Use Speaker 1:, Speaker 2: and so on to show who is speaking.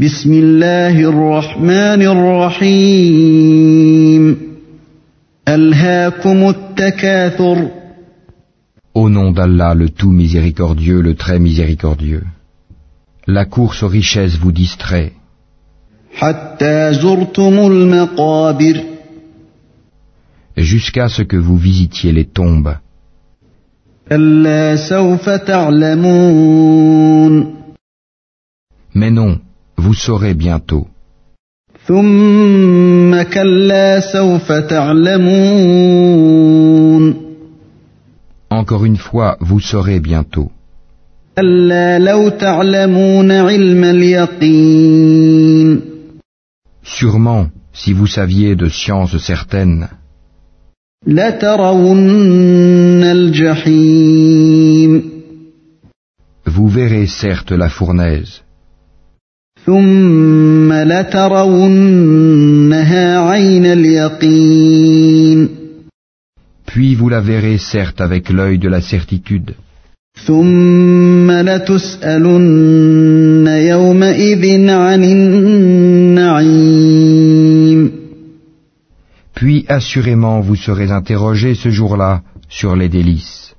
Speaker 1: بسم الله الرحمن الرحيم ألهاكم التكاثر
Speaker 2: Au nom d'Allah le tout miséricordieux, le très miséricordieux. La course aux richesses vous distrait,
Speaker 1: حتى زرتم المقابر
Speaker 2: jusqu'à ce que vous visitiez les tombes.
Speaker 1: كلا سوف تعلمون
Speaker 2: Mais non, vous saurez bientôt.
Speaker 1: ثم كلا سوف تعلمون
Speaker 2: Encore une fois, vous saurez bientôt.
Speaker 1: كلا لو تعلمون علم اليقين
Speaker 2: Sûrement, si vous saviez de sciences certaines,
Speaker 1: لترون الجحيم
Speaker 2: vous verrez certes la fournaise,
Speaker 1: ثم لترونها عين اليقين
Speaker 2: puis vous la verrez certes avec l'œil de la certitude,
Speaker 1: ثم لتسألن يومئذ عن النعيم
Speaker 2: puis assurément vous serez interrogé ce jour-là sur les délices.